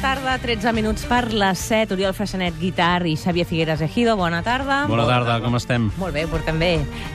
tarda, 13 minuts per les 7. Oriol Freixanet, guitar, i Xavier Figueres Ejido, bona tarda. Bona tarda, com estem? Molt bé, ho portem bé.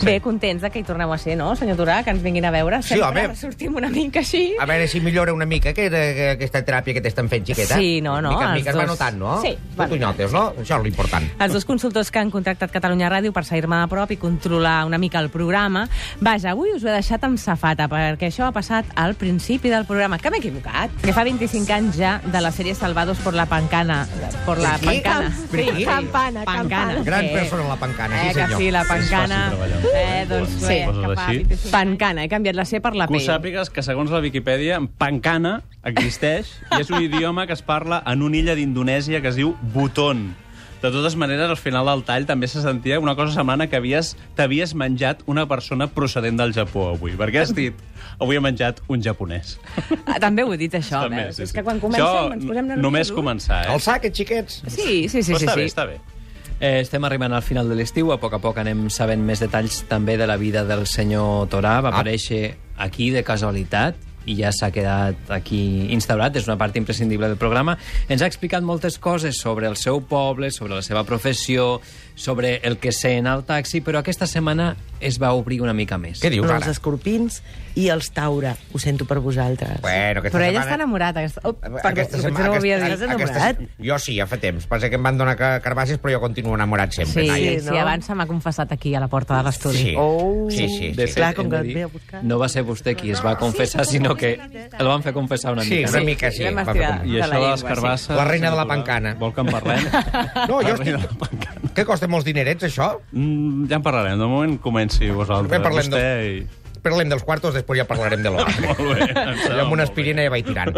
Sí. Bé, contents de que hi torneu a ser, no, senyor Durà? Que ens vinguin a veure. Sí, Sempre home. sortim una mica així. A veure si millora una mica que, que, aquesta teràpia que t'estan fent, xiqueta. Sí, no, no, Mica en els mica es va dos. notant, no? Sí, va Tu t'ho notes, no? Això és l'important. Els dos consultors que han contactat Catalunya Ràdio per seguir-me de prop i controlar una mica el programa. Vaja, avui us ho he deixat amb safata, perquè això ha passat al principi del programa, que m'he equivocat. Que fa 25 anys ja de la sèrie Salvados por la Pancana. Por la Per qui? Pancana. Per qui? Campana, campana. Gran persona la Pancana, sí, eh, que senyor. sí, la Pancana. És fàcil treballar. Eh, doncs, Sí. bé, Coses que fa així. 25 Pancana, he canviat la C per la P. Que ho sàpigues que, segons la Viquipèdia, pancana existeix i és un idioma que es parla en una illa d'Indonèsia que es diu Buton. De totes maneres, al final del tall també se sentia una cosa semblant a que havies- t'havies menjat una persona procedent del Japó avui. Perquè has dit, avui he menjat un japonès. Ah, També ho he dit, això. eh? També, veus? sí, És sí. que quan comencem Això, ens posem nerviosos. Només començar, eh? El sac, aquests xiquets. Sí, sí, sí. Però sí, està sí. bé, està bé. Eh, estem arribant al final de l'estiu, a poc a poc anem sabent més detalls també de la vida del senyor Torà. Va Ah. aparèixer aquí de casualitat i ja s'ha quedat aquí instaurat, és una part imprescindible del programa. Ens ha explicat moltes coses sobre el seu poble, sobre la seva professió, sobre el que sent al taxi, però aquesta setmana es va obrir una mica més. Què dius, Però els ara? escorpins i els taura. Ho sento per vosaltres. Bueno, aquesta Però ella setmana... està enamorat. Aquesta... Oh, perdó, Aquesta potser setmana... no ho havia dit. aquesta- Estàs aquesta- Jo sí, ja fa temps. Passa que em van donar ca- carbasses, però jo continuo enamorat sempre. Sí, Naia. sí, Sí, sí, no? abans se m'ha confessat aquí a la porta de l'estudi. Sí. Oh. sí, sí. De sí. fet, Clar, com hem de que et dir, ve a buscar. no va ser vostè qui es va confessar, sinó que el van fer confessar una Sí, mica. una mica sí. l'hem va fer estirat. com- I De la això de les llengua, carbasses... sí. La reina de la senyor Durà, pancana. Vol que en parlem? No, la jo reina de la estic... pancana. Què costa molts dinerets, això? Mm, ja en parlarem. De moment comenci vosaltres. Bé, parlem vostè del- i... Parlem dels quartos, després ja parlarem de l'hora. Molt bé. em Jo sembla amb una molt bé. aspirina ja vaig tirant.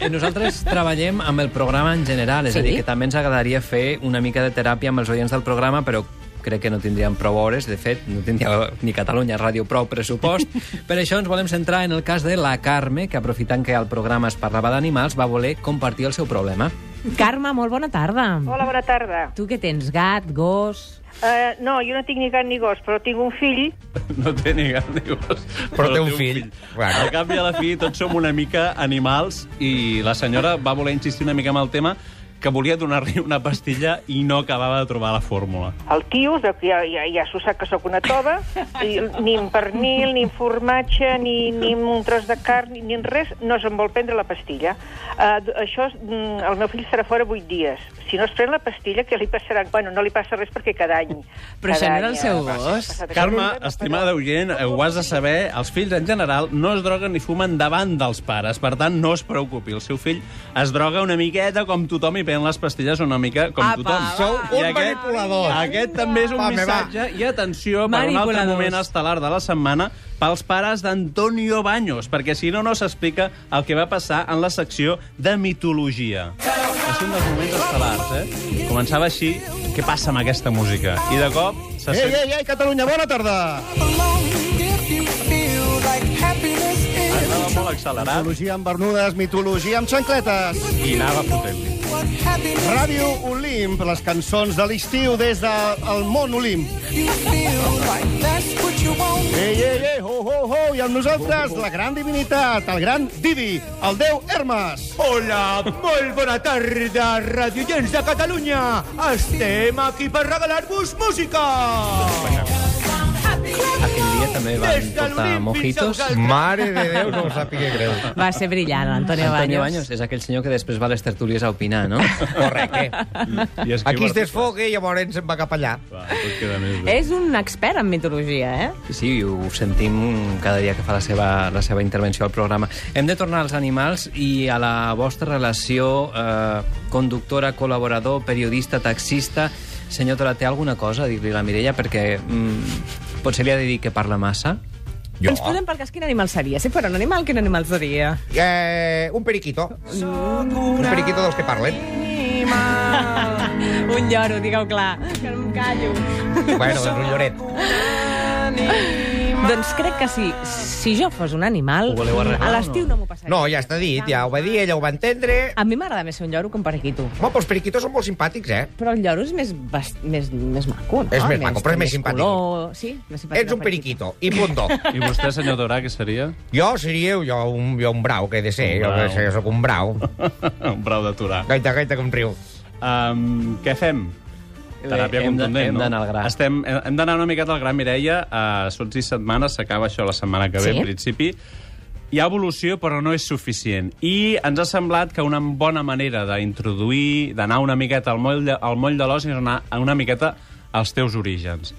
Eh, Nosaltres treballem amb el programa en general, és Sí. a dir, que també ens agradaria fer una mica de teràpia amb els oients del programa, però crec que no tindríem prou hores, de fet, no tindria ni Catalunya Ràdio prou pressupost. Per això ens volem centrar en el cas de la Carme, que aprofitant que al programa es parlava d'animals, va voler compartir el seu problema. Carme, molt bona tarda. Hola, bona tarda. Tu què tens? Gat, gos... Uh, no, jo no tinc ni gat ni gos, però tinc un fill. No té ni gat ni gos. Però té un fill. Bueno. Al cap i a la fi, tots som una mica animals i la senyora va voler insistir una mica amb el tema que volia donar-li una pastilla i no acabava de trobar la fórmula. El quios, ja, ja, ja s'ho sap que sóc una tova, i ni en pernil, ni en formatge, ni, ni en un tros de carn, ni en res, no se'n vol prendre la pastilla. Uh, això, és- mm, el meu fill serà fora vuit dies. Si no es pren la pastilla, què li passarà? Bueno, no li passa res perquè eh? cada any... Però això no era el seu gos. gos. Carme, estimada oient, eh, ho has de saber, els fills en general no es droguen ni fumen davant dels pares, per tant, no es preocupi, el seu fill es droga una miqueta com tothom i pren les pastilles una mica com Apa, tothom. va. I Sou un aquest- manipulador. Aquest també és un Va, me va. missatge i atenció per un altre Manipuladors. moment estel·lar de la setmana pels pares d'Antonio Baños, perquè si no, no s'explica el que va passar en la secció de mitologia. Va ser un dels moments estel·lars, eh? Començava així, què passa amb aquesta música? I de cop se sent... ei, Catalunya, bona tarda! Anava molt accelerat Mitologia amb bernudes, mitologia amb xancletes. i anava potent. Ràdio Olimp, les cançons de l'estiu des del el món Olimp. Ei, ei, ei, ho, ho, ho, i amb nosaltres la gran divinitat, el gran divi, el déu Hermes. Hola, molt bona tarda, radioients de Catalunya. Estem aquí per regalar-vos música. Aquell dia també van Des de portar l'Olimp mojitos. fins al Mare de Déu, no ho sàpiga greu. Va ser brillant, Antonio, Antonio Baños. Baños és aquell senyor que després va a les tertúlies a opinar, no? Correcte. I escriu Aquí es articles. desfoga i llavors se'n va cap allà. Va, tot queda més bé. És un expert en mitologia, eh? Sí, ho sentim cada dia que fa la seva, la seva intervenció al programa. Hem de tornar als animals i a la vostra relació eh, conductora, col·laborador, periodista, taxista. Senyor Tora, té alguna cosa a dir-li a la Mireia? Perquè mm, potser li ha de dir que parla massa. Jo? Ens posem per cas quin animal seria. Si fos un animal, quin animal seria? Eh, un periquito. Un periquito dels que parlen. un lloro, digueu clar. Que no em callo. Bueno, doncs un lloret. Doncs crec que si, si jo fos un animal, Ho voleu arreglar a o l'estiu no, m'ho passaria. No, ja està dit, ja ho va dir, ella ho va entendre. A mi m'agrada més ser un lloro que un periquito. Home, però els periquitos són molt simpàtics, eh? Però el lloro és més, bas- més, més maco, no? És més maco, però és té més simpàtic. Color... Sí, més simpàtic Ets un el periquito, i punto. I vostè, senyor Dorà, què seria? Jo seria jo un, jo un brau, que he de ser. Un Jo, brau. jo sóc un brau. un brau de Torà. Gaita, gaita, com riu. Um, què fem? Teràpia Hem de- contundent, hem no? d'anar al gra. Estem, hem d'anar una miqueta al gra, Mireia. Uh, són sis setmanes, s'acaba això la setmana que ve, Sí. en principi. Hi ha evolució, però no és suficient. I ens ha semblat que una bona manera d'introduir, d'anar una miqueta al moll de, al moll de l'os és anar una miqueta als teus orígens.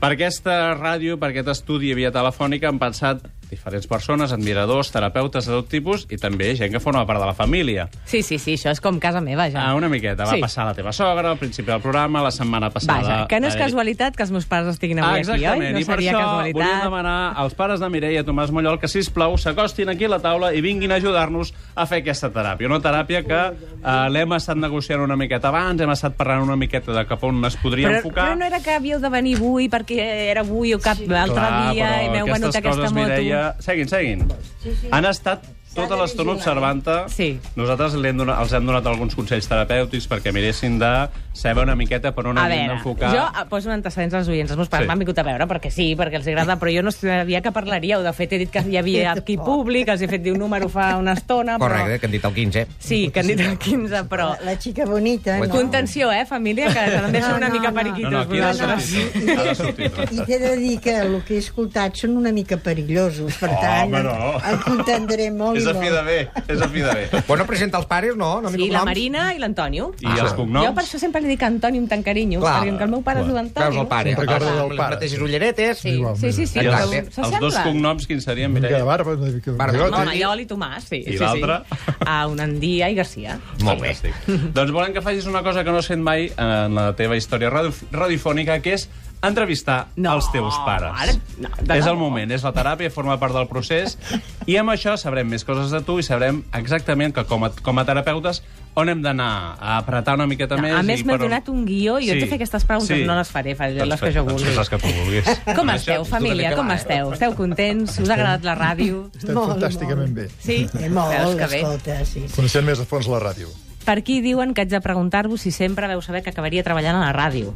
Per aquesta ràdio, per aquest estudi via telefònica, han pensat diferents persones, admiradors, terapeutes de tot tipus i també gent que forma part de la família. Sí, sí, sí, això és com casa meva, ja. Ah, una miqueta. Va Sí. sí. passar la teva sogra al principi del programa, la setmana passada... Vaja, que no és la- casualitat que els meus pares estiguin Ah, avui aquí, oi? exactament, No i per seria això volíem casualitat. demanar als pares de Mireia Tomàs Mollol que, sisplau, s'acostin aquí a la taula i vinguin a ajudar-nos a fer aquesta teràpia. Una teràpia que eh, l'hem estat negociant una miqueta abans, hem estat parlant una miqueta de cap on es podria Però, enfocar... però no era que havíeu de venir avui perquè era avui o cap sí. altre Clar, dia però i m'heu venut aquestes aquesta coses, moto. Mireia... Seguin, seguin. Sí, sí. Han estat tota l'estona observant-te. Sí. Nosaltres li hem donat, els hem donat alguns consells terapèutics perquè miressin de saber una miqueta per on A havien veure, d'enfocar. jo eh, poso en antecedents als oients. Els meus pares Sí. sí. m'han vingut a veure perquè sí, perquè els agrada, però jo no sabia que parlaríeu. De fet, he dit que hi havia aquí públic, els he fet dir un número fa una estona, però... Correcte, que han dit el 15. Sí, que han dit el 15, però... La, la xica bonita, no? Contenció, eh, família, que també No, són una no, mica no. No, periquitos. no, aquí ha de vosaltres. sortir. tot, Ha de sortir. tot. I t'he de dir que el que he escoltat són una mica perillosos, per tant, Home, no. em contendré molt És i a fi de molt. bé, és a fi de bé. Bueno, presenta els pares, no? no Sí, la Marina i l'Antonio. Ah. I els cognoms? Jo per això sempre li dic Antoni amb tant carinyo, Clar. perquè que el meu pare es diu Antoni... Veus el pare. Sempre que amb recordo el les pare. mateixes ulleretes. Sí, sí, sí, sí I però els, Exacte. els dos s'assemblen. cognoms quins serien, Una mica de Mireia? barba, una mica de Barba. bigoti. Home, Maiol i Tomàs, sí. I sí, l'altre? Sí. A Unandia i Garcia. Molt bé. Fantàstic. doncs volem que facis una cosa que no has fet mai en la teva història radio- radiofònica, que és entrevistar No, els teus pares. ara- no, de és el debò. moment, és la teràpia, forma part del procés, i amb això sabrem més coses de tu i sabrem exactament que com a, com a terapeutes on hem d'anar a apretar una miqueta No, més. a més, i m'heu per on- donat un guió i jo t'he fet aquestes preguntes, no les faré, faré Doncs les que fes- jo doncs vulgui. fes les que tu vulguis. Com Amb esteu, això- família? que Com va, eh? esteu? Esteu contents? Us ha agradat la ràdio? Estem fantàsticament bé. Sí? Eh, Veus molt, que bé. escolta, sí, sí. Coneixem més a fons la ràdio. Per aquí diuen que haig de preguntar-vos si sempre veu saber que acabaria treballant a la ràdio.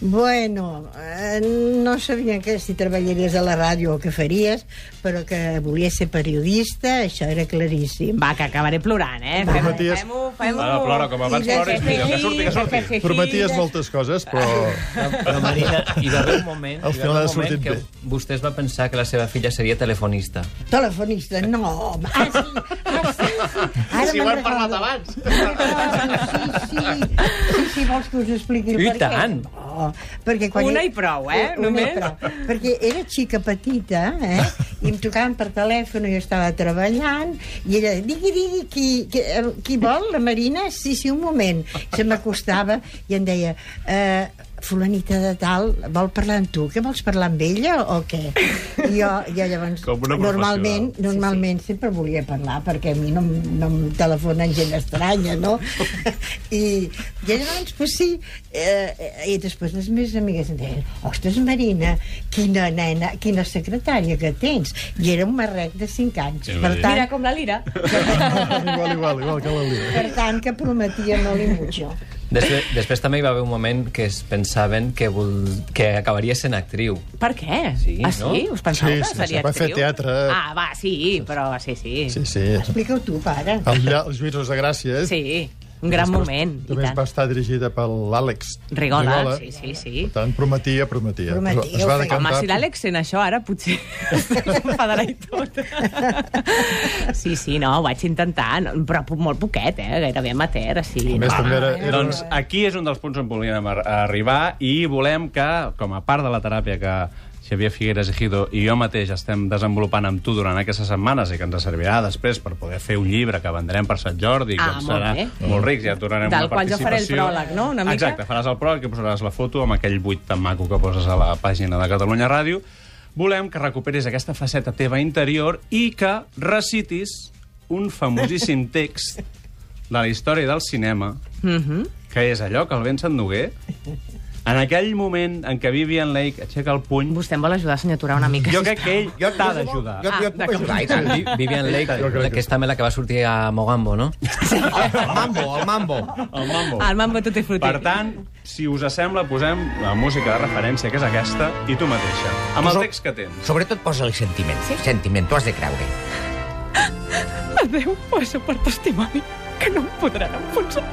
Bueno, eh, no sabia que si treballaries a la ràdio o què faries, però que volia ser periodista, això era claríssim. Va, que acabaré plorant, eh? Va. Fem-ho, Prometies- fem-ho, fem-ho. Ara plora, com abans I de plora és millor. Que surti, que surti. Jiji, Prometies jiji. moltes coses, però... Però, Marina, hi va haver un moment, Al hi va final haver ha un moment sortit que bé. vostè es va pensar que la seva filla seria telefonista. Telefonista, no, home. Ah, sí, ah, sí, sí. Ara Si ho me'n hem parlat recordo. abans. Sí, sí, sí, sí, vols que us expliqui el I per què? tant. No, perquè quan Una i prou, eh? Una i Només. prou. Perquè era xica petita, eh? I em tocaven per telèfon i jo estava treballant i ella, digui, digui, qui, qui, eh, qui vol, la Marina? Sí, sí, un moment. Se m'acostava i em deia... Eh, fulanita de tal, vol parlar amb tu? Què vols parlar amb ella o què? I jo, jo llavors, Com una normalment, professional. normalment sempre volia parlar perquè a mi no, em- no em telefonen gent estranya, no? I, i llavors, doncs, pues sí, eh, eh, i després les meves amigues em deien ostres, Marina, quina nena, quina secretària que tens. I era un marrec de 5 anys. Sí, va per dir. tant, Mira com la lira. igual, igual, igual que la Lira. per tant, que prometia molt i mucho. Després, després també hi va haver un moment que es pensaven que, vol, que acabaria sent actriu. Per què? Sí, ah, sí? no? Us penseu Sí, que sí, seria sí, va fer actriu? teatre. Ah, va, sí, però sí, sí. Sí, sí. Explica-ho tu, pare. El, lla- els Lluïsos de Gràcia. eh? Sí, un gran moment. I També tant. va estar dirigida per l'Àlex Rigola, sí, sí, sí. Per tant, prometia, prometia. Prometia, Però es va ho feia. decantar... Home, si l'Àlex sent això, ara potser s'enfadarà i tot. sí, sí, no, ho vaig intentar, no, però po- molt poquet, eh? Gairebé amateur, així. A més, no. també era... era Doncs aquí és un dels punts on volíem ar- arribar i volem que, com a part de la teràpia que Xavier Figueres Ejido i jo mateix estem desenvolupant amb tu durant aquestes setmanes i que ens servirà després per poder fer un llibre que vendrem per Sant Jordi, Ah, que ens molt serà bé. molt ric, ja et donarem Del una qual jo faré participació. el pròleg, no?, una mica. Exacte, faràs el pròleg i posaràs la foto amb aquell buit tan maco que poses a la pàgina de Catalunya Ràdio. Volem que recuperis aquesta faceta teva interior i que recitis un famosíssim text de la història del cinema Mhm. que és allò que el Vincent Noguer En aquell moment en què Vivian Lake aixeca el puny... Vostè em vol ajudar, senyor Turà, una mica, Jo crec que ell t'ha d'ajudar. Jo, Ah, jo et puc ajudar, i tant. Vi- Vivian Lake, Jo crec la que que és també la que va sortir a Mogambo, no? El mambo, el mambo. El mambo. El mambo tutti frutti. Per tant, si us sembla, posem la música de referència, que és aquesta, i tu mateixa, amb el text que tens. Sobretot posa-li sentiment. Sí? Sentiment, tu has de creure. Adéu, va ser per testimoni que no em podran enfonsar.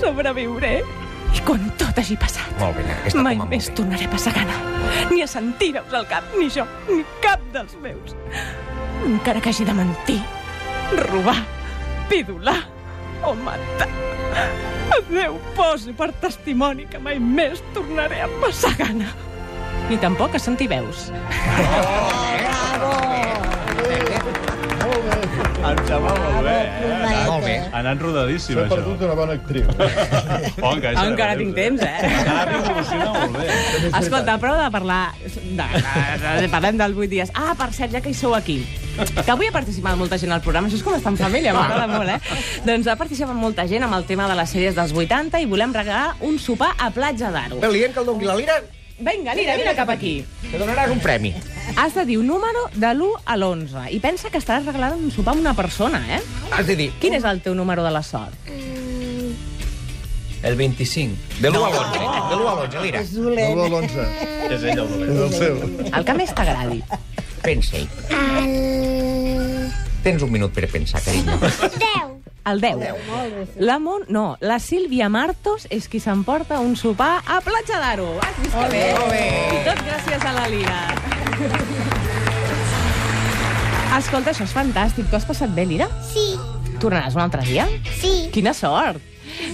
Sobreviuré. eh? I quan tot hagi passat, Molt bé, aquesta mai com a molt més bé. tornaré a passar gana. Ni a sentir veus al cap, ni jo, ni cap dels meus. Encara que hagi de mentir, robar, pidolar o matar. Adéu, posi per testimoni que mai més tornaré a passar gana. Ni tampoc a sentir veus. Em sembla molt bé, eh? Ah, Molt bé. Anant rodadíssim, S'ha això. perdut una bona actriu. Oh, encara, Ah, encara tinc temps, eh? Encara t'emocionar molt bé. Escolta, prou de parlar... De, de, de, parlem del 8 dies. Ah, per cert, ja que hi sou aquí. Que avui ha participat molta gent al programa. Això és com estar en família, m'agrada molt, eh? Doncs ha participat molta gent amb el tema de les sèries dels 80 i volem regalar un sopar a Platja d'Aro. Però li diem que el doni la lira, Vinga, Lira, vine cap aquí. te donaràs un premi. Has de dir un número de l'1 a l'11 i pensa que estaràs regalant un sopar a una persona, eh? Has de dir... Quin és el teu número de la sort? El 25. De l'1 a l'11, de l'1 a l'11, lira. És No dolent. de l'11. És ell el dolent. És el seu. El que més t'agradi. Pensa-hi. Tens un minut per pensar, carinyo. El 10. La Mon... No, la Sílvia Martos és qui s'emporta un sopar a Platja d'Aro. Has vist que bé? I tot gràcies a la Lira. Escolta, això és fantàstic. Tu has passat bé, Lira? Sí, Tornaràs un altre dia? sí. Quina sort!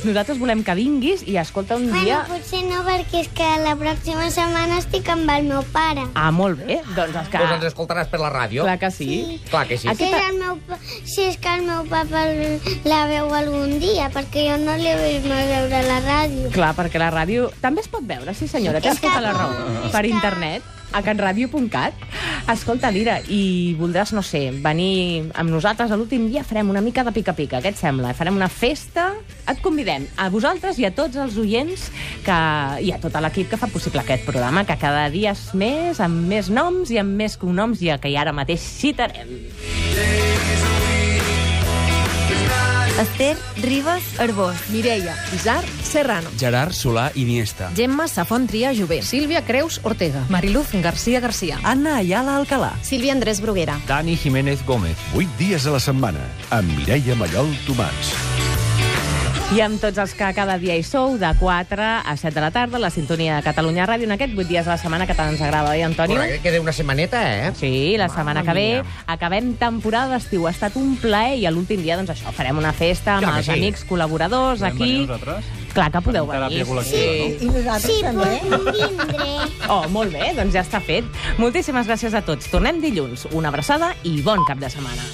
Nosaltres volem que vinguis i escolta un Bueno, dia... potser no, perquè és que la pròxima setmana estic amb el meu pare. Ah, molt bé. Doncs els que... Doncs ens escoltaràs per la ràdio. Clar que sí. Clar que sí. Aquí- Si és, el meu, pa- si és que el meu papa l- la veu algun dia, perquè jo no l'he vist mai veure a la ràdio. Clar, perquè la ràdio també es pot veure, sí senyora, tens És que tota la no, raó. és Per que- internet, a catradio.cat. Escolta, Lira, i voldràs, no sé, venir amb nosaltres a l'últim dia, farem una mica de pica-pica, què et sembla? Farem una festa, et convidem a vosaltres i a tots els oients que, i a tot l'equip que fa possible aquest programa, que cada dia és més, amb més noms i amb més cognoms, i el que ja ara mateix citarem. Esther Ribas Arbós. Mireia Isar Serrano. Gerard Solà Iniesta. Gemma Safont Tria Jové. Sílvia Creus Ortega. Mariluz García García. Anna Ayala Alcalá. Sílvia Andrés Bruguera. Dani Jiménez Gómez. 8 dies a la setmana amb Mireia Mallol Tomàs. I amb tots els que cada dia hi sou, de 4 a 7 de la tarda, a la sintonia de Catalunya Ràdio, en aquests 8 dies de la setmana que tant ens agrada, oi, Antoni? Correcte, queda una setmaneta, eh? Sí, la setmana que ve acabem temporada d'estiu. Ha estat un plaer i a l'últim dia, doncs això, farem una festa amb Clar que els sí. amics col·laboradors Podem venir aquí. nosaltres? Clar que podeu Farem teràpia venir. col·lectiva, I nosaltres Sí, també. puc Doncs vindré. Oh, molt bé, doncs ja està fet. Moltíssimes gràcies a tots. Tornem dilluns. Una abraçada i bon cap de setmana.